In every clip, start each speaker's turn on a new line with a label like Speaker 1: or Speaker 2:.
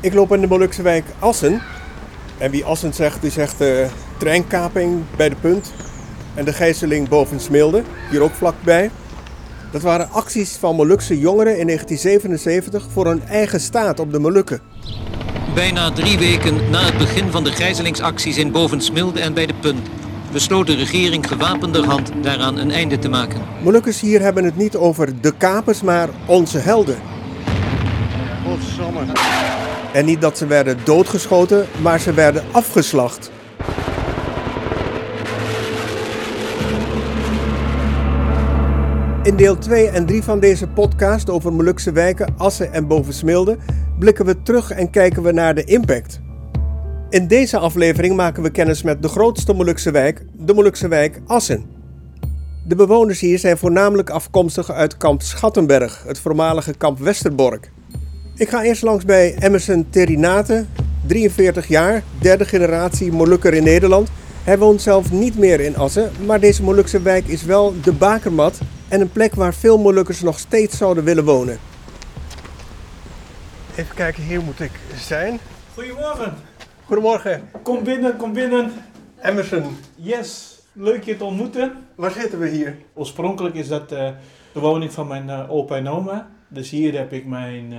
Speaker 1: Ik loop in de Molukse wijk Assen. En wie Assen zegt, die zegt eh, treinkaping bij de punt. En de gijzeling boven Smilde, hier ook vlakbij. Dat waren acties van Molukse jongeren in 1977 voor hun eigen staat op de Molukken.
Speaker 2: Bijna drie weken na het begin van de gijzelingsacties in Bovensmilde en bij de Punt besloot de regering gewapenderhand daaraan een einde te maken.
Speaker 1: Molukkers hier hebben het niet over de kapers, maar onze helden. En niet dat ze werden doodgeschoten, maar ze werden afgeslacht. In deel 2 en 3 van deze podcast over Molukse wijken, Assen en Bovensmilde blikken we terug en kijken we naar de impact. In deze aflevering maken we kennis met de grootste Molukse wijk, de Molukse wijk Assen. De bewoners hier zijn voornamelijk afkomstig uit kamp Schattenberg, het voormalige kamp Westerbork. Ik ga eerst langs bij Emerson Terinate, 43 jaar, derde generatie Molukker in Nederland. Hij woont zelf niet meer in Assen, maar deze Molukse wijk is wel de bakermat en een plek waar veel Molukkers nog steeds zouden willen wonen. Even kijken, hier moet ik zijn.
Speaker 3: Goedemorgen.
Speaker 1: Goedemorgen,
Speaker 3: Kom binnen, kom binnen.
Speaker 1: Emerson.
Speaker 3: Yes, leuk je te ontmoeten.
Speaker 1: Waar zitten we hier?
Speaker 3: Oorspronkelijk is dat eh, de woning van mijn eh, opa en oma. Dus hier heb ik mijn, eh,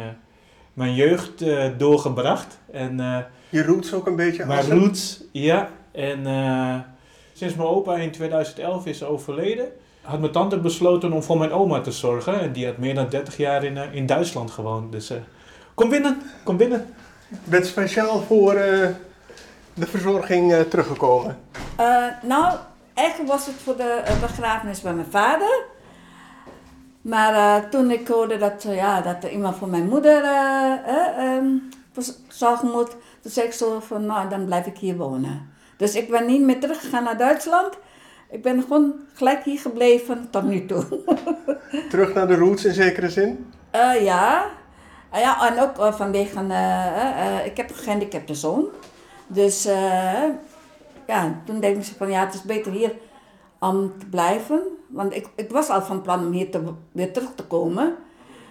Speaker 3: mijn jeugd eh, doorgebracht. En eh,
Speaker 1: Je roots ook een beetje
Speaker 3: mijn
Speaker 1: Assen?
Speaker 3: roots, ja. En eh, sinds mijn opa in 2011 is overleden, had mijn tante besloten om voor mijn oma te zorgen. En die had meer dan 30 jaar in, eh, in Duitsland gewoond. Dus eh, kom binnen, kom binnen.
Speaker 1: bent speciaal voor eh, de verzorging eh, teruggekomen.
Speaker 4: Eh, nou, eigenlijk was het voor de eh, begrafenis bij mijn vader. Maar eh, toen ik hoorde dat, eh, ja, dat er iemand voor mijn moeder eh, eh, ehm, verzorgen moet, toen zei ik zo van, nou, dan blijf ik hier wonen. Dus ik ben niet meer teruggegaan naar Duitsland. Ik ben gewoon gelijk hier gebleven tot nu toe.
Speaker 1: Terug naar de roots in zekere zin.
Speaker 4: Eh, ja. Ah ja, en ook eh, vanwege... eh, eh, eh, ik heb een gehandicapte zoon. Dus eh, ja, toen denk ik zo van ja, het is beter hier om te blijven. Want ik, ik was al van plan om hier te, weer terug te komen.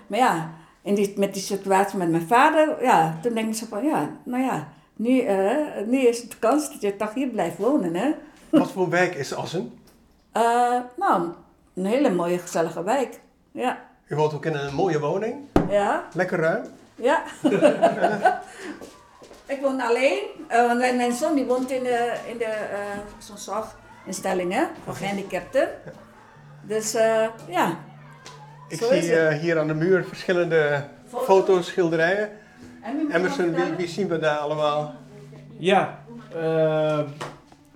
Speaker 4: Maar ja, in die, met die situatie met mijn vader, ja, toen denk ik zo van ja, nou ja, nu, eh, nu is het de kans dat je toch hier blijft wonen, hè.
Speaker 1: Wat voor wijk is Assen?
Speaker 4: Eh, nou, een hele mooie, gezellige wijk. Ja,
Speaker 1: U woont ook in een mooie woning.
Speaker 4: ja.
Speaker 1: Lekker ruim.
Speaker 4: Ja. ik woon alleen, eh, want mijn, mijn zoon die woont in, de, in de, eh, zo'n zorginstelling hè, voor gehandicapten. Dus eh, ja,
Speaker 1: Ik
Speaker 4: Zo
Speaker 1: zie
Speaker 4: is het.
Speaker 1: eh, hier aan de muur verschillende
Speaker 4: Foto's.
Speaker 1: foto's, schilderijen.
Speaker 4: En wie moet
Speaker 1: Emerson,
Speaker 4: nog
Speaker 1: wie, wie zien we daar allemaal?
Speaker 3: Ja, eh,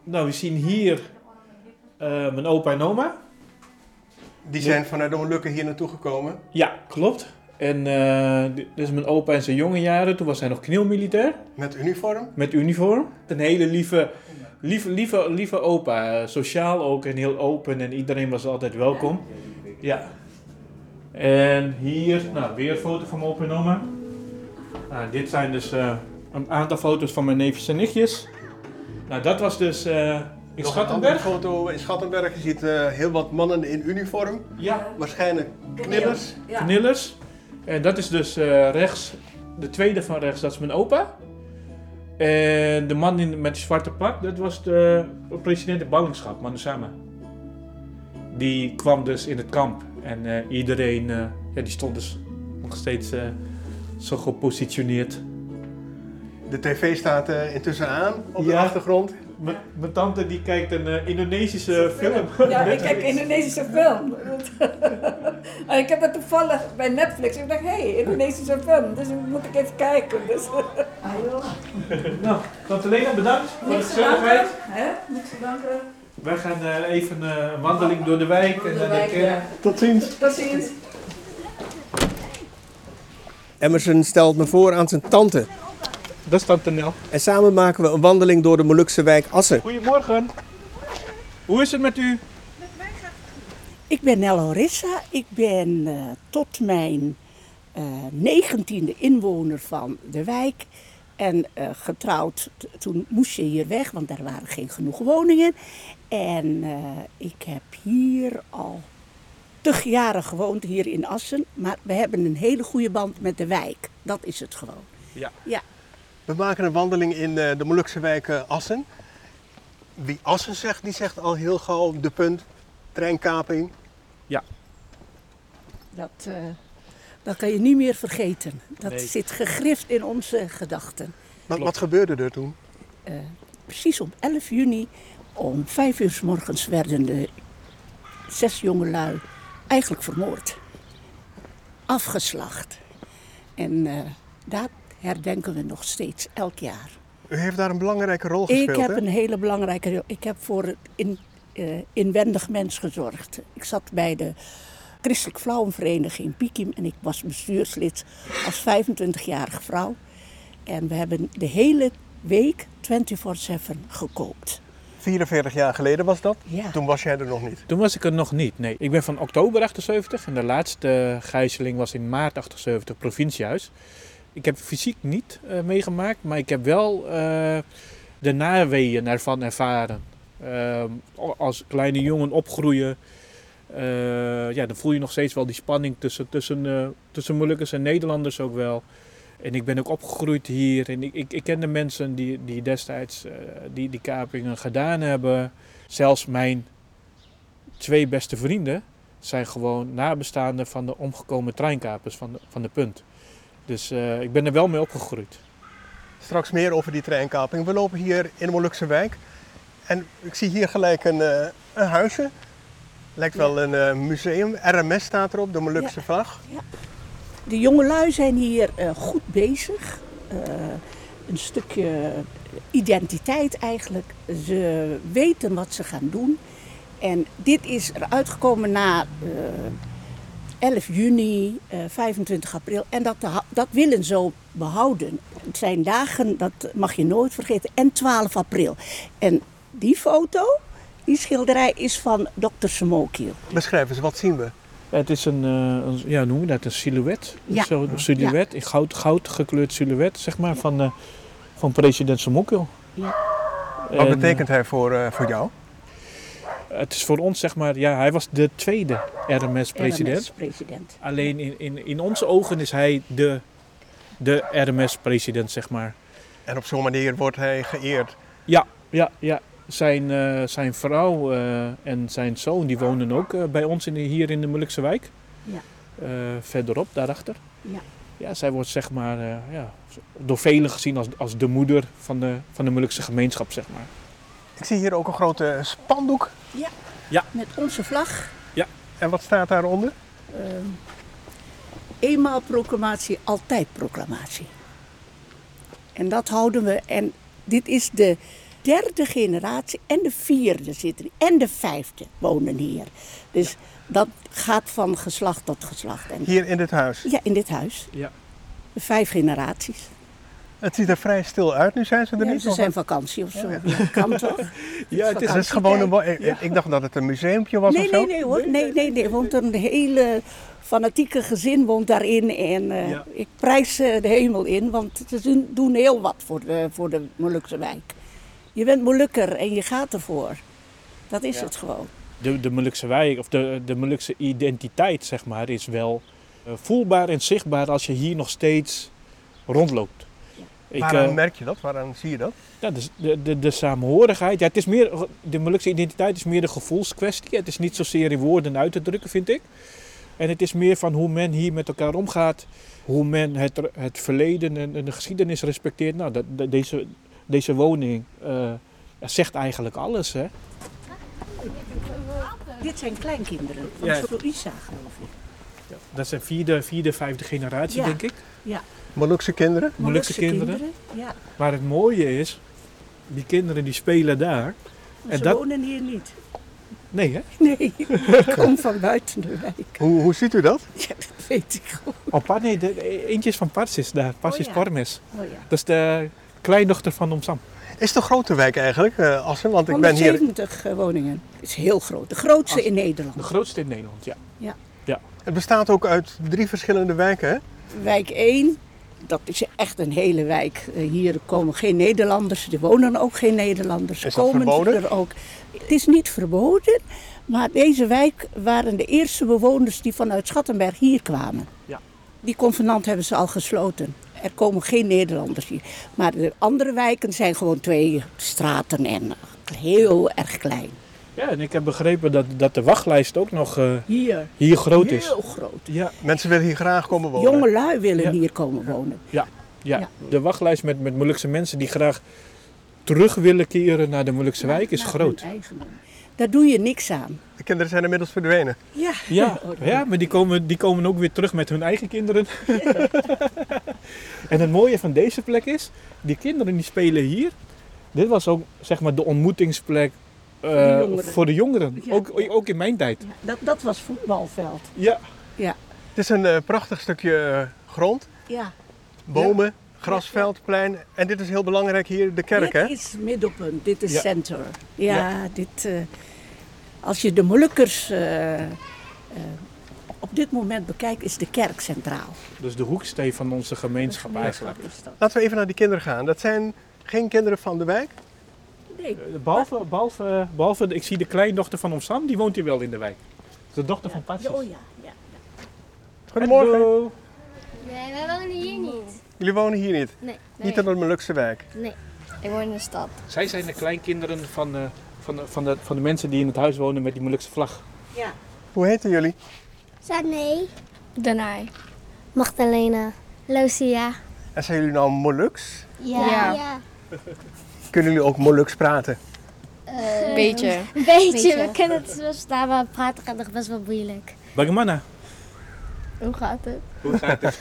Speaker 3: nou we zien hier eh, mijn opa en oma.
Speaker 1: Die zijn vanuit de onlukken hier naartoe gekomen.
Speaker 3: Ja, klopt. En eh, dit is mijn opa in zijn jonge jaren. Toen was hij nog knielmilitair
Speaker 1: Met uniform.
Speaker 3: met uniform. Een hele lieve, lieve, lieve, lieve opa. Eh, sociaal ook en heel open en iedereen was altijd welkom. Ja. En hier, nou weer een foto van mijn opa en oma. Nou, dit zijn dus eh, een aantal foto's van mijn neefjes en nichtjes. Nou, dat was dus eh in
Speaker 1: Nog een andere
Speaker 3: Schattenberg.
Speaker 1: foto in Schattenberg. Je ziet eh, heel wat mannen in uniform.
Speaker 3: Ja,
Speaker 1: Waarschijnlijk
Speaker 4: Knil.
Speaker 1: knillers.
Speaker 4: Ja.
Speaker 3: Knillers. En dat is dus eh, rechts, de tweede van rechts, dat is mijn opa. En de man in, met de zwarte pak, dat was de president de ballingschap, Manusama. Die kwam dus in het kamp. En eh, iedereen, eh, ja, die stond dus nog steeds eh, zo gepositioneerd.
Speaker 1: De tv staat eh, intussen aan op de
Speaker 3: Ja.
Speaker 1: achtergrond.
Speaker 3: M- Mijn tante die kijkt een eh, Indonesische film.
Speaker 4: Ja, ik kijk Indonesische film. en ik heb dat toevallig bij Netflix. Ik dacht, hé, hey, Indonesische film. Dus moet ik even kijken. Dus.
Speaker 3: Nou, tante Lena, bedankt voor de
Speaker 4: Niks te danken.
Speaker 3: gezelligheid.
Speaker 4: Hè? Niks te danken.
Speaker 3: Wij gaan eh, even eh, een wandeling door de wijk en
Speaker 4: De
Speaker 3: naar de
Speaker 4: wijk,
Speaker 3: kerk.
Speaker 4: ja.
Speaker 1: Tot ziens.
Speaker 4: Tot ziens.
Speaker 1: Emerson stelt me voor aan zijn tante.
Speaker 3: Dat is Tante Nel.
Speaker 1: En samen maken we een wandeling door de Molukse wijk Assen.
Speaker 3: Goedemorgen. Hoe is het met u?
Speaker 5: Ik ben Nella Orissa. Ik ben eh, tot mijn eh, negentiende inwoner van de wijk. En eh, getrouwd, T- toen moest je hier weg, want er waren geen genoeg woningen. En eh, ik heb hier al tig jaren gewoond, hier in Assen. Maar we hebben een hele goede band met de wijk. Dat is het gewoon.
Speaker 1: Ja.
Speaker 5: ja.
Speaker 1: We maken een wandeling in eh, de Molukse wijk eh, Assen. Wie Assen zegt, die zegt al heel gauw de punt, treinkaping.
Speaker 5: Dat, eh, dat kan je niet meer vergeten. Dat
Speaker 3: Nee.
Speaker 5: zit gegrift in onze gedachten. Eh,
Speaker 1: Wat, wat gebeurde er toen?
Speaker 5: precies op 11 juni om 5 uur 's morgens werden de zes jongelui eigenlijk vermoord. Afgeslacht. En eh, dat herdenken we nog steeds elk jaar.
Speaker 1: U heeft daar een belangrijke rol gespeeld,
Speaker 5: Ik heb
Speaker 1: hè?
Speaker 5: een hele belangrijke... rol. Ik heb voor het in, eh, inwendig mens gezorgd. Ik zat bij de Christelijk Vrouwenvereniging Piekim... en ik was bestuurslid als 25-jarige vrouw. En we hebben de hele week 24-7 gekookt.
Speaker 1: 44 jaar geleden was dat.
Speaker 5: Ja.
Speaker 1: Toen was jij er nog niet.
Speaker 3: Toen was ik er nog niet, nee. Ik ben van oktober 78 en de laatste eh, gijzeling was in maart 78, provinciehuis. Ik heb fysiek niet eh, meegemaakt, maar ik heb wel eh, de naweeën ervan ervaren. Ehm, a- als kleine jongen opgroeien, eh, ja, dan voel je nog steeds wel die spanning tussen, tussen, eh, tussen Molukkers en Nederlanders ook wel. En ik ben ook opgegroeid hier en ik, ik, ik ken de mensen die, die destijds eh, die, die kapingen gedaan hebben. Zelfs mijn twee beste vrienden zijn gewoon nabestaanden van de omgekomen treinkapers van de, van de punt. Dus eh, ik ben er wel mee opgegroeid.
Speaker 1: Straks meer over die treinkaping. We lopen hier in de Molukse wijk. En ik zie hier gelijk een, eh, een huisje. Lijkt wel een eh, museum. RMS staat erop, de Molukse vlag.
Speaker 5: De jongelui zijn hier eh, goed bezig. Eh, een stukje identiteit eigenlijk. Ze weten wat ze gaan doen. En dit is eruit gekomen na eh, 11 juni, eh, 25 april. En dat, ha- dat willen ze ook behouden. Het zijn dagen, dat mag je nooit vergeten. En 12 april. En die foto, die schilderij is van Dr. Samokiel.
Speaker 1: Beschrijf eens, wat zien we?
Speaker 3: Het is een, eh, een- ja, hoe noem je dat, een silhouet.
Speaker 5: Ja.
Speaker 3: Zo, een silhouet, in goud, goud gekleurd silhouet, zeg maar, van, eh, van president Samokil.
Speaker 5: Ja.
Speaker 1: Wat
Speaker 3: En,
Speaker 1: betekent hij voor, eh, voor jou?
Speaker 3: eh, het is voor ons, zeg maar, ja, hij was de tweede RMS-president.
Speaker 5: president.
Speaker 3: Alleen in, in, in onze ogen is hij de, de RMS-president, zeg maar.
Speaker 1: En op zo'n manier wordt hij geëerd.
Speaker 3: Ja, ja, ja. Zijn, eh, zijn vrouw eh, en zijn zoon die woonden ook eh, bij ons in de- hier in de Molukse wijk.
Speaker 5: Ja.
Speaker 3: Eh, verderop, daarachter.
Speaker 5: Ja.
Speaker 3: Ja, zij wordt zeg maar eh, ja, door velen gezien als, als de moeder van de, van de Molukse gemeenschap, zeg maar.
Speaker 1: Ik zie hier ook een grote spandoek.
Speaker 5: Met onze vlag.
Speaker 1: En wat staat daaronder?
Speaker 5: Ehm, Eh, eenmaal proclamatie, altijd proclamatie. En dat houden we. En dit is de derde generatie en de vierde zitten. En de vijfde wonen hier. Dus dat gaat van geslacht tot geslacht. En
Speaker 1: Hier in dit huis.
Speaker 5: ja, in dit huis.
Speaker 3: Ja.
Speaker 5: De vijf generaties.
Speaker 1: Het ziet er vrij stil uit. Nu zijn ze er
Speaker 5: Ja,
Speaker 1: niet.
Speaker 5: ze
Speaker 1: of
Speaker 5: zijn
Speaker 1: wat?
Speaker 5: vakantie of zo. Ja, Kan toch?
Speaker 3: Ja, het
Speaker 1: Het is dus gewoon een... wo- Ik, ik dacht dat het een museumpje was
Speaker 5: nee,
Speaker 1: of zo.
Speaker 5: nee, nee hoor. Nee, nee, nee. Want een hele fanatieke gezin woont daarin. En eh,
Speaker 3: Ja.
Speaker 5: ik prijs eh, de hemel in, want ze doen- doen heel wat voor de, voor de Molukse wijk. Je bent Molukker en je gaat ervoor. Dat is het gewoon.
Speaker 3: De, de Molukse wijk, of de, de Molukse identiteit, zeg maar, is wel eh, voelbaar en zichtbaar als je hier nog steeds rondloopt. Ik,
Speaker 1: Waaraan
Speaker 3: eh,
Speaker 1: merk je dat? Waaraan zie je dat?
Speaker 3: Ja, dus de, de, de samenhorigheid. Ja, het is meer, de Molukse identiteit is meer de gevoelskwestie. Het is niet zozeer in woorden uit te drukken, vind ik. En het is meer van hoe men hier met elkaar omgaat. Hoe men het, het verleden en, en de geschiedenis respecteert. Nou, dat, dat- deze, deze woning eh, zegt eigenlijk alles. Hè?
Speaker 5: Dit zijn kleinkinderen van
Speaker 3: Ja.
Speaker 5: ja. Isa, geloof ik.
Speaker 3: Dat zijn vierde, vierde vijfde generatie,
Speaker 5: Ja.
Speaker 3: denk ik.
Speaker 1: Molukse kinderen.
Speaker 3: Molukse kinderen.
Speaker 5: Ja.
Speaker 3: Maar het mooie is, die kinderen die spelen daar.
Speaker 5: Maar
Speaker 3: En
Speaker 5: ze
Speaker 3: dat-
Speaker 5: wonen hier niet.
Speaker 3: Nee, hè?
Speaker 5: Nee, ik kom van buiten de wijk.
Speaker 1: Hoe, hoe ziet u dat?
Speaker 5: Ja, dat weet ik gewoon.
Speaker 3: Oh, Par- nee, de- e- eentje is van Parsis daar. Parsis
Speaker 5: ja.
Speaker 3: Parmes.
Speaker 5: Oh ja.
Speaker 3: Dat is de kleindochter van Om Sam.
Speaker 1: Is het een grote wijk eigenlijk, eh Assen? Want ik ben hier.
Speaker 5: 170 eh, woningen. is heel groot. De grootste in Nederland.
Speaker 3: De grootste in Nederland, ja.
Speaker 1: Het bestaat ook uit drie verschillende wijken. Hè?
Speaker 5: Wijk 1, dat is echt een hele wijk. Eh, Hier komen geen Nederlanders, er wonen ook geen Nederlanders.
Speaker 1: Is dat
Speaker 5: komen ze
Speaker 1: verboden?
Speaker 5: Er ook. Het is niet verboden, maar deze wijk waren de eerste bewoners die vanuit Schattenberg hier kwamen.
Speaker 3: Ja.
Speaker 5: Die convenant hebben ze al gesloten. Er komen geen Nederlanders hier. Maar de andere wijken zijn gewoon twee straten en heel erg klein.
Speaker 3: Ja, en ik heb begrepen dat, dat de wachtlijst ook nog eh,
Speaker 5: Hier,
Speaker 3: hier groot is.
Speaker 5: heel groot.
Speaker 3: Ja,
Speaker 1: Mensen willen hier graag komen wonen.
Speaker 5: Jongelui willen
Speaker 3: Ja.
Speaker 5: hier komen wonen.
Speaker 3: ja.
Speaker 5: Ja.
Speaker 3: de wachtlijst met, met Molukse mensen die graag terug willen keren naar de Molukse wijk is
Speaker 5: Naar
Speaker 3: groot.
Speaker 5: hun eigen doen. Daar doe je niks aan.
Speaker 1: De kinderen zijn inmiddels verdwenen.
Speaker 5: Ja,
Speaker 3: Ja,
Speaker 5: Oh, dat-
Speaker 3: ja maar die komen, die komen ook weer terug met hun eigen kinderen. en het mooie van deze plek is, die kinderen die spelen hier. Dit was ook zeg maar de ontmoetingsplek eh,
Speaker 5: jongeren.
Speaker 3: voor de jongeren.
Speaker 5: Ja.
Speaker 3: Ook, ook in mijn tijd.
Speaker 5: dat, dat was voetbalveld.
Speaker 3: Ja,
Speaker 1: Het is een eh, prachtig stukje eh, grond.
Speaker 5: Ja.
Speaker 1: Bomen, grasveld, plein. En dit is heel belangrijk hier, de kerk.
Speaker 5: dit
Speaker 1: Hè?
Speaker 5: is middelpunt, dit is
Speaker 3: Ja.
Speaker 5: center. Ja, dit... eh, als je de Molukkers eh, eh, op dit moment bekijkt, is de kerk centraal.
Speaker 3: dus de hoeksteen van onze gemeenschap eigenlijk.
Speaker 5: Is dat.
Speaker 1: Laten we even naar die kinderen gaan. Dat zijn geen kinderen van de wijk.
Speaker 5: Nee,
Speaker 3: Eh, Behalve, behalve, behalve, ik zie de kleindochter van Om Sam, die woont hier wel in de wijk. De dochter van Patjes.
Speaker 5: oh ja, ja.
Speaker 1: Goedemorgen.
Speaker 3: Hallo.
Speaker 6: Nee, wij wonen hier niet.
Speaker 1: Jullie wonen hier niet.
Speaker 6: Nee.
Speaker 1: Niet in de Molukse wijk.
Speaker 6: Ik woon in de stad.
Speaker 3: Zij zijn de kleinkinderen van, eh, van, de- van, de, van de mensen die in het huis wonen met die Molukse vlag.
Speaker 1: Hoe heten jullie?
Speaker 6: Zanee. Danai. Magdalena. Lucia.
Speaker 1: En zijn jullie nou Moluks?
Speaker 6: Ja.
Speaker 1: Kunnen jullie ook Moluks praten?
Speaker 7: Beetje.
Speaker 6: Eh, Beetje, we kunnen het wel staan, maar praten gaat nog best wel moeilijk.
Speaker 3: Bagamana.
Speaker 6: Hoe gaat het?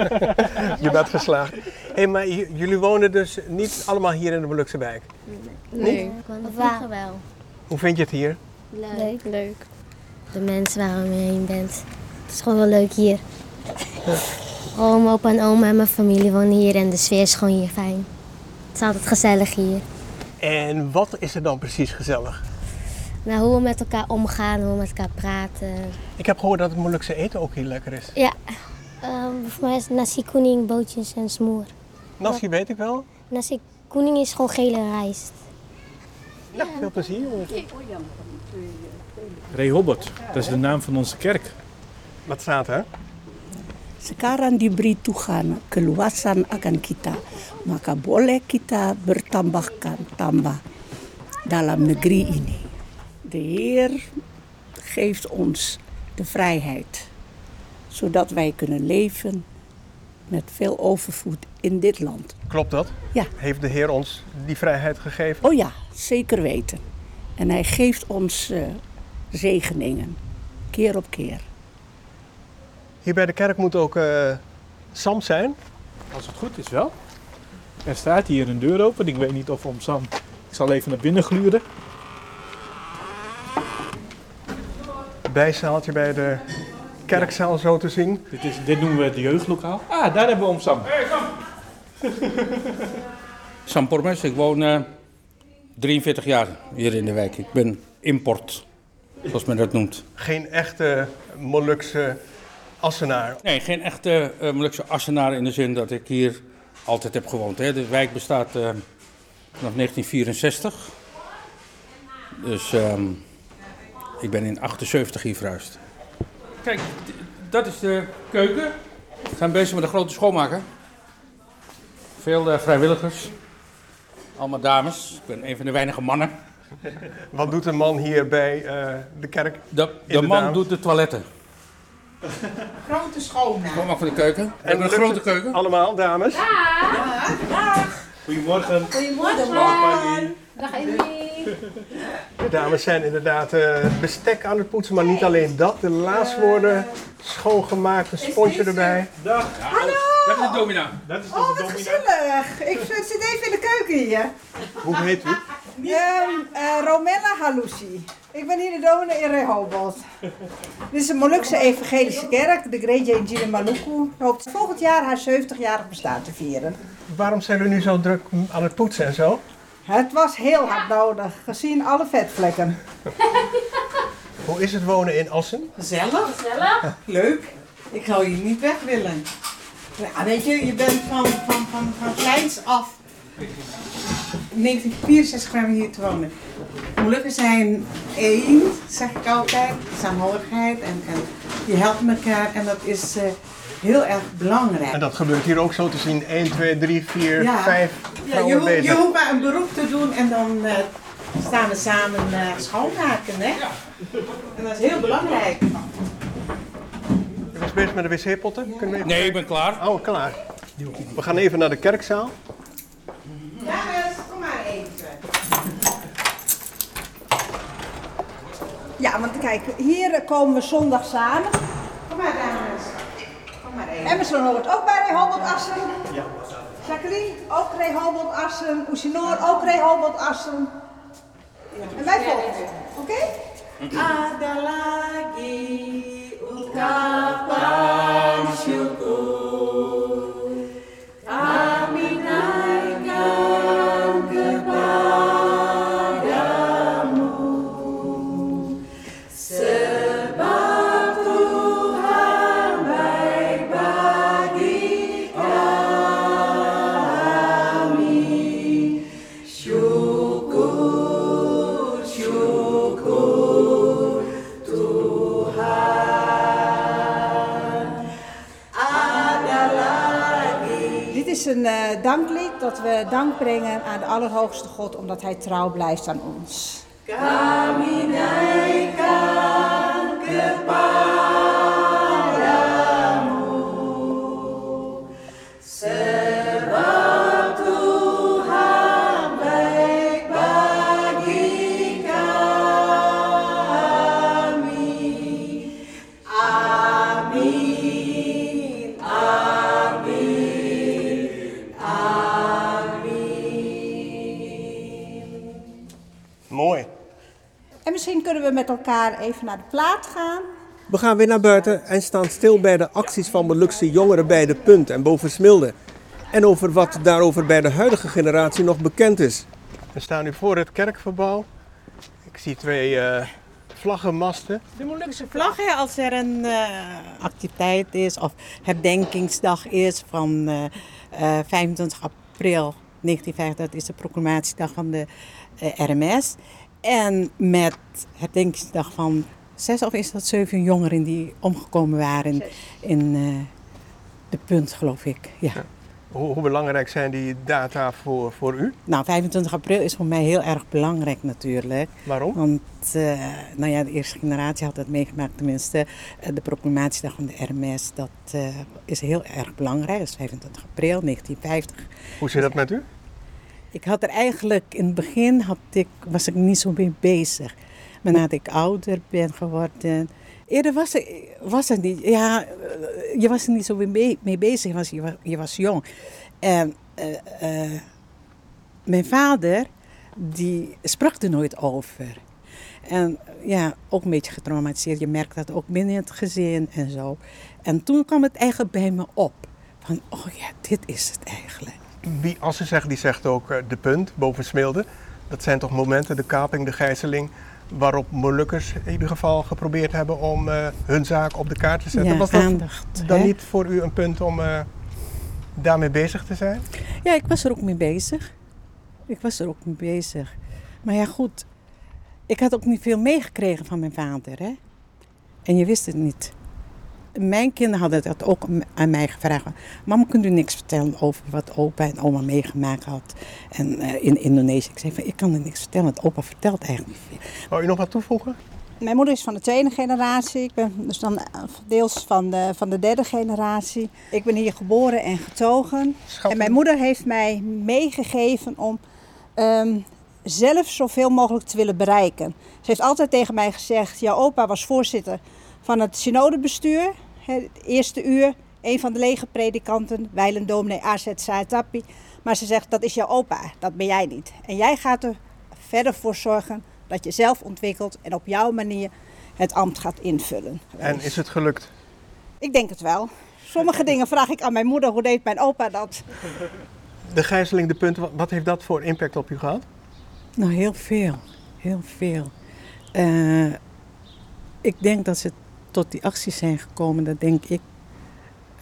Speaker 1: Je bent geslaagd. Hé, maar j- jullie wonen dus niet allemaal hier in de Molukse wijk.
Speaker 7: Nee.
Speaker 6: Ik woonde vroeger wel.
Speaker 1: Hoe vind je het hier?
Speaker 6: Leuk. Leuk. De mensen waar je heen bent. Het is gewoon wel leuk hier. Gewoon mijn opa en oma en mijn familie wonen hier en de sfeer is gewoon hier fijn. Het is altijd gezellig hier.
Speaker 1: En wat is er dan precies gezellig?
Speaker 6: Nou, hoe we met elkaar omgaan, hoe we met elkaar praten.
Speaker 1: Ik heb gehoord dat het Molukse eten ook heel lekker is.
Speaker 6: Ja. voor mij is nasi koening, bootjes en smoer.
Speaker 1: Nasi weet ik wel.
Speaker 6: Nasi koening is gewoon gele rijst.
Speaker 1: Nou, veel plezier.
Speaker 3: Rehoboth, dat is de naam van onze kerk.
Speaker 1: Wat staat er?
Speaker 5: Sekarang diberi Tuhan keluasan akan kita, maka boleh kita bertambahkan tambah dalam negeri ini. De Heer geeft ons de vrijheid, zodat wij kunnen leven met veel overvloed in dit land.
Speaker 1: Klopt dat?
Speaker 5: Ja.
Speaker 1: Heeft de Heer ons die vrijheid gegeven?
Speaker 5: Oh ja, zeker weten. En Hij geeft ons eh, zegeningen, keer op keer.
Speaker 1: Hier bij de kerk moet ook eh Sam zijn.
Speaker 3: Als het goed is wel. Er staat hier een deur open. Ik weet niet of Om Sam... Ik zal even naar binnen gluren.
Speaker 1: Bijzaaltje bij de kerkzaal zo te zien.
Speaker 3: Dit, is, dit noemen we het jeugdlokaal. Ah, daar hebben we Om Sam.
Speaker 8: Sam Pormes, ik woon eh, 43 jaar hier in de wijk. Ik ben import, zoals men dat noemt.
Speaker 1: Geen echte Molukse assenaar.
Speaker 8: Nee, geen echte eh Molukse assenaar in de zin dat ik hier altijd heb gewoond. Hè. De wijk bestaat eh, vanaf 1964. Dus ehm, ik ben in 78 hier verhuisd. Kijk, d- dat is de keuken. We zijn bezig met de grote schoonmaker. Veel eh, vrijwilligers. Allemaal dames. Ik ben een van de weinige mannen.
Speaker 1: Wat doet een man hier bij eh, de kerk?
Speaker 8: De, de
Speaker 1: Inderdaad.
Speaker 8: man doet de toiletten.
Speaker 5: Grote schoonheid.
Speaker 8: Kom maar van de keuken. We hebben een
Speaker 1: lukt
Speaker 8: grote
Speaker 1: het
Speaker 8: keuken.
Speaker 1: Allemaal, dames.
Speaker 3: Goedemorgen.
Speaker 1: De dames zijn inderdaad eh, bestek aan het poetsen, maar niet alleen dat. De laatst worden schoongemaakt, een sponsje erbij.
Speaker 8: Dat is de domina.
Speaker 9: Oh,
Speaker 3: Dat is toch de dominee?
Speaker 9: Gezellig! Ik zit even in de keuken hier.
Speaker 1: Hoe heet u?
Speaker 9: Ehm, eh, Romella Halousi. Ik ben hier de dominee in Rehoboth. Dit is een Molukse evangelische kerk, de Great Angel in Maluku. Hoopt volgend jaar haar 70-jarig bestaan te vieren.
Speaker 1: Waarom zijn we nu zo druk aan het poetsen en zo?
Speaker 9: Het was heel hard nodig, gezien alle vetvlekken.
Speaker 1: Hoe is het wonen in Assen?
Speaker 10: Gezellig. Leuk. Ik zou hier niet weg willen. Ja, weet je, je bent van, van, van, van kleins af. In 1964 kwamen we hier te wonen. Gelukkig zijn één, zeg ik altijd, saamhorigheid en, en je helpt elkaar en dat is eh, heel erg belangrijk.
Speaker 1: En dat gebeurt hier ook zo te zien. 1, 2, 3, 4,
Speaker 10: Ja.
Speaker 1: 5
Speaker 10: Ja, je,
Speaker 1: vrouwen
Speaker 10: hoeft, je
Speaker 1: bezig.
Speaker 10: hoeft maar een beroep te doen en dan eh, staan we samen eh, schoonmaken. Hè? En dat is heel belangrijk.
Speaker 1: Je was bezig met de wc-potten? Kunnen we even-
Speaker 8: Nee, ik ben klaar.
Speaker 1: Oh, klaar. We gaan even naar de kerkzaal.
Speaker 10: Dames, kom maar even.
Speaker 9: Ja, want kijk, hier komen we zondag samen.
Speaker 10: Kom maar, dames. Kom maar even.
Speaker 9: Emerson hoort ook bij Rehoboth Assen.
Speaker 1: Ja.
Speaker 9: Jacqueline, ook Rehoboth Assen. Oesinoor, ook Rehoboth Assen. En wij volgen. Oké?
Speaker 10: Ada lagi ungkapan syukur kami naikkan kepadamu sebab Tuhan baik bagi kami syukur syukur
Speaker 9: Dit is een eh, danklied dat we dank brengen aan de Allerhoogste God omdat Hij trouw blijft aan ons.
Speaker 10: Kami naikkan kepadamu Sebab Tuhan baik bagi kami Amin, amin, amin
Speaker 1: Mooi.
Speaker 9: En misschien kunnen we met elkaar even naar de plaat gaan.
Speaker 1: We gaan weer naar buiten en staan stil bij de acties van Molukse jongeren bij De Punt en Boven Smilde. En over wat daarover bij de huidige generatie nog bekend is. We staan nu voor het kerkverbouw. Ik zie twee eh, vlaggenmasten.
Speaker 10: De Molukse vlag, hè, als er een eh, activiteit is of herdenkingsdag is van eh, eh, 25 april 1950, dat is de proclamatiedag van de eh, RMS. En met herdenkingsdag van zes of is dat zeven jongeren die omgekomen waren in eh, de punt, geloof ik. Ja.
Speaker 1: Hoe, hoe belangrijk zijn die data voor, voor u?
Speaker 10: Nou, 25 april is voor mij heel erg belangrijk natuurlijk.
Speaker 1: Waarom?
Speaker 10: Want eh, nou ja, de eerste generatie had dat meegemaakt, tenminste. eh, de proclamatiedag van de RMS, dat eh, is heel erg belangrijk. Dat is 25 april 1950.
Speaker 1: Hoe zit dat met u?
Speaker 10: Ik had er eigenlijk in het begin had ik, was ik niet zo mee bezig. Maar nadat ik ouder ben geworden. Eerder was, ik- was het niet. Ja, eh, je was er niet zo mee, mee bezig, want je was, je was jong. En eh, eh, mijn vader, die sprak er nooit over. En ja, ook een beetje getraumatiseerd. Je merkt dat ook binnen het gezin en zo. En toen kwam het eigenlijk bij me op. Van, oh ja, dit is het eigenlijk.
Speaker 1: Wie Assen zegt, die zegt ook eh, De Punt, Boven Smilde. Dat zijn toch momenten, de kaping, de gijzeling, waarop Molukkers in ieder geval geprobeerd hebben om eh, hun zaak op de kaart te zetten.
Speaker 10: Ja,
Speaker 1: Was dat
Speaker 10: aandacht,
Speaker 1: dan
Speaker 10: hè?
Speaker 1: niet voor u een punt om eh, daarmee bezig te zijn?
Speaker 10: Ja, ik was er ook mee bezig. Ik was er ook mee bezig. Maar ja, goed. Ik had ook niet veel meegekregen van mijn vader, hè. En je wist het niet. Mijn kinderen hadden dat ook om- aan mij gevraagd. Mama, kunt u niks vertellen over wat opa en oma meegemaakt had en, eh, in Indonesië? Ik zei van, ik kan er niks vertellen, want opa vertelt eigenlijk niet veel.
Speaker 1: Wou je nog wat toevoegen?
Speaker 9: Mijn moeder is van de tweede generatie. Ik ben dus dan deels van de, van de derde generatie. Ik ben hier geboren en getogen. En mijn moeder heeft mij meegegeven om ehm, zelf zoveel mogelijk te willen bereiken. Ze heeft altijd tegen mij gezegd: jouw opa was voorzitter van het synodebestuur. hè, Het eerste uur, een van de lege predikanten, wijlen dominee AZ Saatapi. Maar ze zegt: dat is jouw opa, dat ben jij niet. En jij gaat er verder voor zorgen dat je zelf ontwikkelt en op jouw manier het ambt gaat invullen.
Speaker 1: En is het gelukt?
Speaker 9: Ik denk het wel. Sommige dingen vraag ik aan mijn moeder, hoe deed mijn opa dat?
Speaker 1: De gijzeling de punten, wa- wat heeft dat voor impact op u gehad?
Speaker 10: Nou, heel veel. Heel veel. Eh, ik denk dat ze tot die acties zijn gekomen, dat denk ik.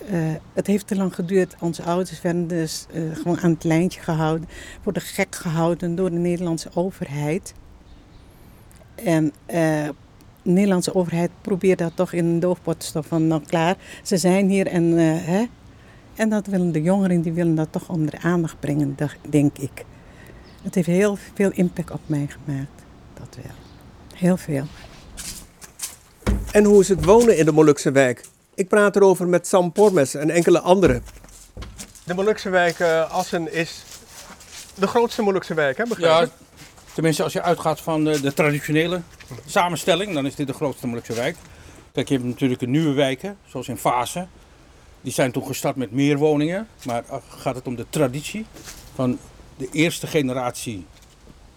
Speaker 10: Eh, het heeft te lang geduurd. Onze ouders werden dus eh, gewoon aan het lijntje gehouden, worden gek gehouden door de Nederlandse overheid. En eh, de Nederlandse overheid probeert dat toch in een doofpot te stoppen van nou klaar, ze zijn hier en eh, hè. En dat willen de jongeren, die willen dat toch onder de aandacht brengen, dacht- denk ik. Het heeft heel veel impact op mij gemaakt, dat wel. Heel veel.
Speaker 1: En hoe is het wonen in de Molukse wijk? Ik praat erover met Sam Pormes en enkele anderen. De Molukse wijk eh, Assen is de grootste Molukse wijk, hè? Begrijp
Speaker 8: Ja,
Speaker 1: ik?
Speaker 8: tenminste als je uitgaat van eh, de traditionele samenstelling, dan is dit de grootste Molukse wijk. Kijk, je hebt natuurlijk de nieuwe wijken, zoals in Fase. Die zijn toen gestart met meer woningen, maar eh, gaat het om de traditie van de eerste generatie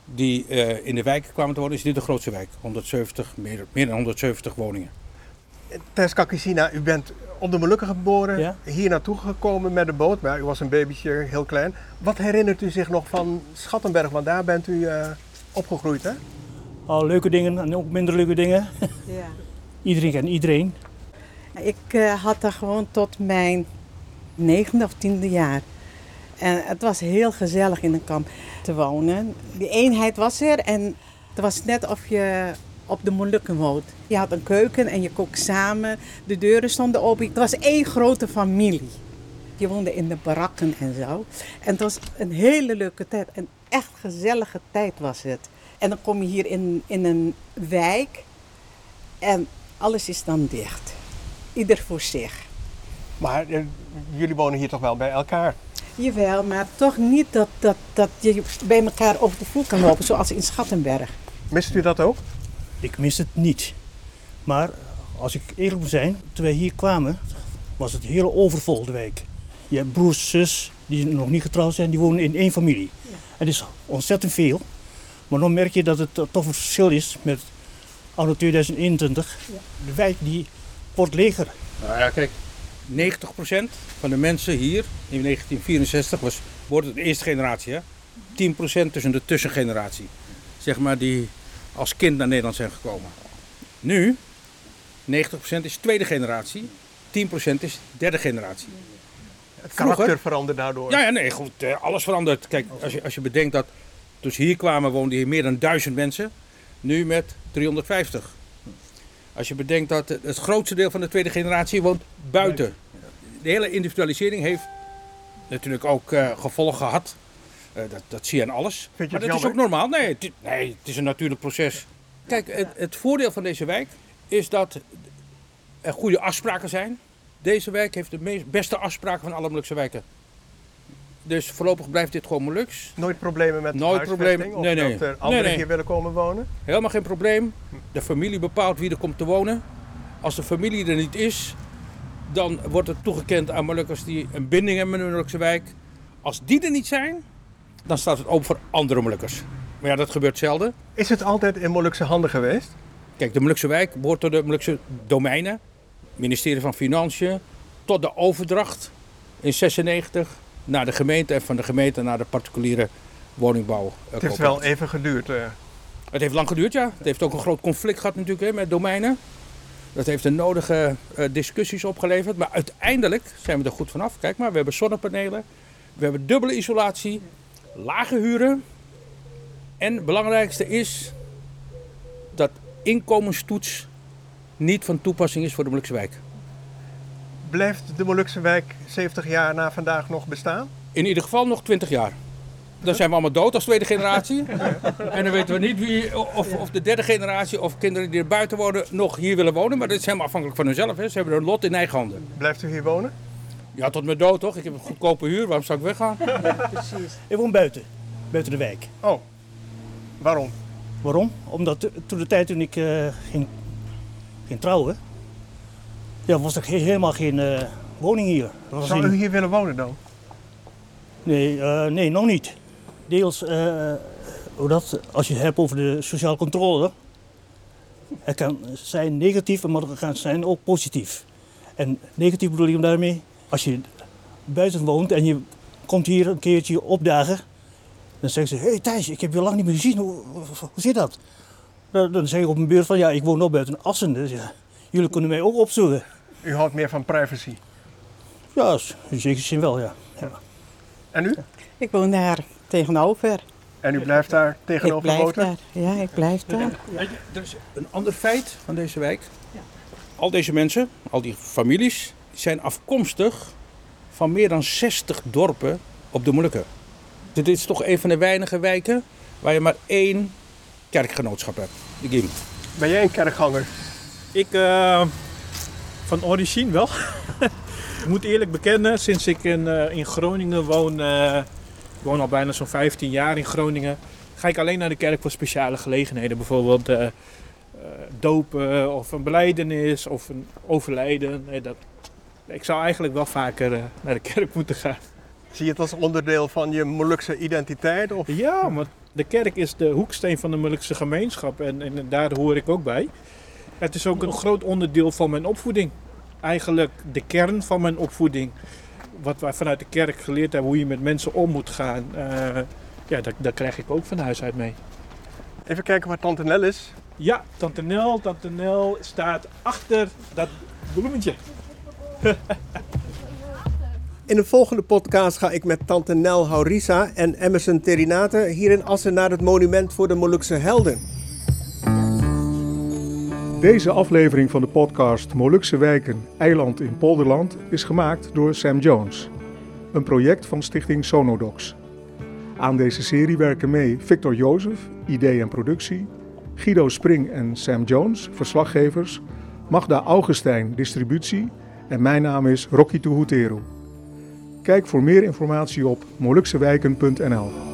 Speaker 8: die eh, in de wijken kwamen te wonen, is dit de grootste wijk. 170, meer, meer dan 170 woningen.
Speaker 1: Tess Kakisina, u bent op de Molukken geboren,
Speaker 8: Ja.
Speaker 1: hier naartoe gekomen met de boot, maar u was een babytje, heel klein. Wat herinnert u zich nog van Schattenberg, want daar bent u eh, opgegroeid, hè?
Speaker 11: Al leuke dingen en ook minder leuke dingen.
Speaker 10: Ja.
Speaker 11: iedereen kent iedereen.
Speaker 10: Ik eh, had dat gewoon tot mijn negende of tiende jaar. En het was heel gezellig in een kamp te wonen. Die eenheid was er en het was net of je op de Molukken woont. Je had een keuken en je kook samen. De deuren stonden open. Het was één grote familie. Je woonde in de barakken en zo. En het was een hele leuke tijd. Een echt gezellige tijd was het. En dan kom je hier in, in een wijk en alles is dan dicht. Ieder voor zich.
Speaker 1: Maar eh, jullie wonen hier toch wel bij elkaar?
Speaker 10: Jawel, maar toch niet dat, dat, dat je bij elkaar over de vloer kan lopen, zoals in Schattenberg.
Speaker 1: Mist u dat ook?
Speaker 11: Ik mis het niet. Maar als ik eerlijk moet zijn, toen wij hier kwamen, was het heel overvol de wijk. Je hebt broers, zus, die nog niet getrouwd zijn, die wonen in één familie. Het is ontzettend veel. Maar dan merk je dat het eh, toch een verschil is met anno 2021. De wijk die wordt leger.
Speaker 8: Nou ja, kijk, 90% van de mensen hier in 1964 was, wordt het de eerste generatie, hè? 10% tussen de tussengeneratie, zeg maar, die als kind naar Nederland zijn gekomen. Nu, 90% is tweede generatie, 10% is derde generatie.
Speaker 1: Het
Speaker 8: Vroeger-
Speaker 1: karakter verandert daardoor.
Speaker 8: Ja, ja, nee, goed, eh, alles verandert. Kijk, als je, als je bedenkt dat toen ze hier kwamen woonden hier meer dan duizend mensen, nu met 350. Als je bedenkt dat het grootste deel van de tweede generatie woont buiten. De hele individualisering heeft natuurlijk ook eh, gevolgen gehad. Eh, dat, dat zie je aan alles.
Speaker 1: Vind je
Speaker 8: maar
Speaker 1: het
Speaker 8: dat is ook
Speaker 1: jammer?
Speaker 8: normaal. Nee het, i- nee, het is een natuurlijk proces. Kijk, het, het voordeel van deze wijk is dat er goede afspraken zijn. Deze wijk heeft de meest, beste afspraken van alle Molukse wijken. Dus voorlopig blijft dit gewoon Molux.
Speaker 1: Nooit problemen met
Speaker 8: Nooit
Speaker 1: huisvesting
Speaker 8: problemen.
Speaker 1: of
Speaker 8: Nee, nee.
Speaker 1: dat er
Speaker 8: Nee,
Speaker 1: anderen
Speaker 8: nee.
Speaker 1: hier willen komen wonen?
Speaker 8: Helemaal geen probleem. De familie bepaalt wie er komt te wonen. Als de familie er niet is, dan wordt het toegekend aan Molukkers die een binding hebben met de Molukse wijk. Als die er niet zijn, dan staat het open voor andere Molukkers. Maar ja, dat gebeurt zelden.
Speaker 1: Is het altijd in Molukse handen geweest?
Speaker 8: Kijk, de Molukse wijk behoort tot de Molukse domeinen. Ministerie van Financiën. Tot de overdracht in 96 naar de gemeente en van de gemeente naar de particuliere woningbouw.
Speaker 1: Het heeft wel even geduurd. eh.
Speaker 8: Het heeft lang geduurd, ja. Het heeft ook een groot conflict gehad natuurlijk hè, met domeinen. Dat heeft de nodige eh, discussies opgeleverd. Maar uiteindelijk zijn we er goed vanaf. Kijk maar, we hebben zonnepanelen. We hebben dubbele isolatie. Lage huren. En het belangrijkste is dat inkomenstoets niet van toepassing is voor de Molukse wijk.
Speaker 1: Blijft de Molukse wijk 70 jaar na vandaag nog bestaan?
Speaker 8: In ieder geval nog 20 jaar. Dan zijn we allemaal dood als tweede generatie. En dan weten we niet wie, of, of de derde generatie of kinderen die er buiten wonen nog hier willen wonen. Maar dat is helemaal afhankelijk van hunzelf. Hè. Ze hebben hun lot in eigen handen.
Speaker 1: Blijft u hier wonen?
Speaker 8: Ja, tot mijn dood toch? Ik heb een goedkope huur. Waarom zou ik weggaan?
Speaker 11: Precies. Ik woon buiten, buiten de wijk.
Speaker 1: Oh, waarom?
Speaker 11: Waarom? Omdat eh, toen de tijd toen ik eh, ging, ging trouwen, ja, was er geen- helemaal geen eh, woning hier. Er was
Speaker 1: Zou
Speaker 11: een-
Speaker 1: u hier willen wonen dan?
Speaker 11: Nee, eh, nee, nog niet. Deels eh, hoe dat, als je het hebt over de sociale controle, het kan zijn negatief, maar het kan zijn ook positief. En negatief bedoel ik daarmee, als je buiten woont en je komt hier een keertje opdagen, dan zeggen ze, hé hey Thijs, ik heb je lang niet meer gezien, hoe, hoe, hoe zit dat? Dan, dan zeg ik op mijn beurt van, ja, ik woon ook buiten Assen, dus ja, jullie kunnen mij ook opzoeken.
Speaker 1: U houdt meer van privacy.
Speaker 11: Ja, s- in zekere zin wel, ja. ja.
Speaker 1: En u?
Speaker 10: Ik woon daar tegenover.
Speaker 1: En u blijft daar
Speaker 10: ik
Speaker 1: tegenover de
Speaker 10: blijf
Speaker 1: motor?
Speaker 10: daar. Ja, ik blijf daar.
Speaker 8: Weet je, Er is een ander feit van deze wijk. Al deze mensen, al die families, zijn afkomstig van meer dan 60 dorpen op de Molukken. Dit is toch een van de weinige wijken waar je maar één kerkgenootschap hebt. De Gim.
Speaker 1: Ben jij een kerkganger?
Speaker 3: Ik eh, van origine wel. ik moet eerlijk bekennen, sinds ik in, eh, in Groningen woon, eh, ik woon al bijna zo'n 15 jaar in Groningen, ga ik alleen naar de kerk voor speciale gelegenheden. Bijvoorbeeld eh, eh, dopen of een beleidenis of een overlijden. Nee, dat, ik zou eigenlijk wel vaker eh, naar de kerk moeten gaan.
Speaker 1: Zie je het als onderdeel van je Molukse identiteit? Of?
Speaker 3: Ja, maar de kerk is de hoeksteen van de Molukse gemeenschap en, en daar hoor ik ook bij. Het is ook een groot onderdeel van mijn opvoeding. Eigenlijk de kern van mijn opvoeding. Wat wij vanuit de kerk geleerd hebben, hoe je met mensen om moet gaan. eh, ja, dat, daar krijg ik ook van huis uit mee.
Speaker 1: Even kijken waar Tante Nel is.
Speaker 3: Ja, Tante Nel. Tante Nel staat achter dat bloemetje.
Speaker 1: In de volgende podcast ga ik met tante Nel Haurisa en Emerson Terinate hier in Assen naar het monument voor de Molukse helden.
Speaker 12: Deze aflevering van de podcast Molukse wijken, eiland in Polderland is gemaakt door Sam Jones. Een project van stichting Sonodox. Aan deze serie werken mee Victor Jozef, idee en productie, Guido Spring en Sam Jones, verslaggevers, Magda Augustijn, distributie en mijn naam is Rocky Toehuteru. Kijk voor meer informatie op moluksewijken.nl.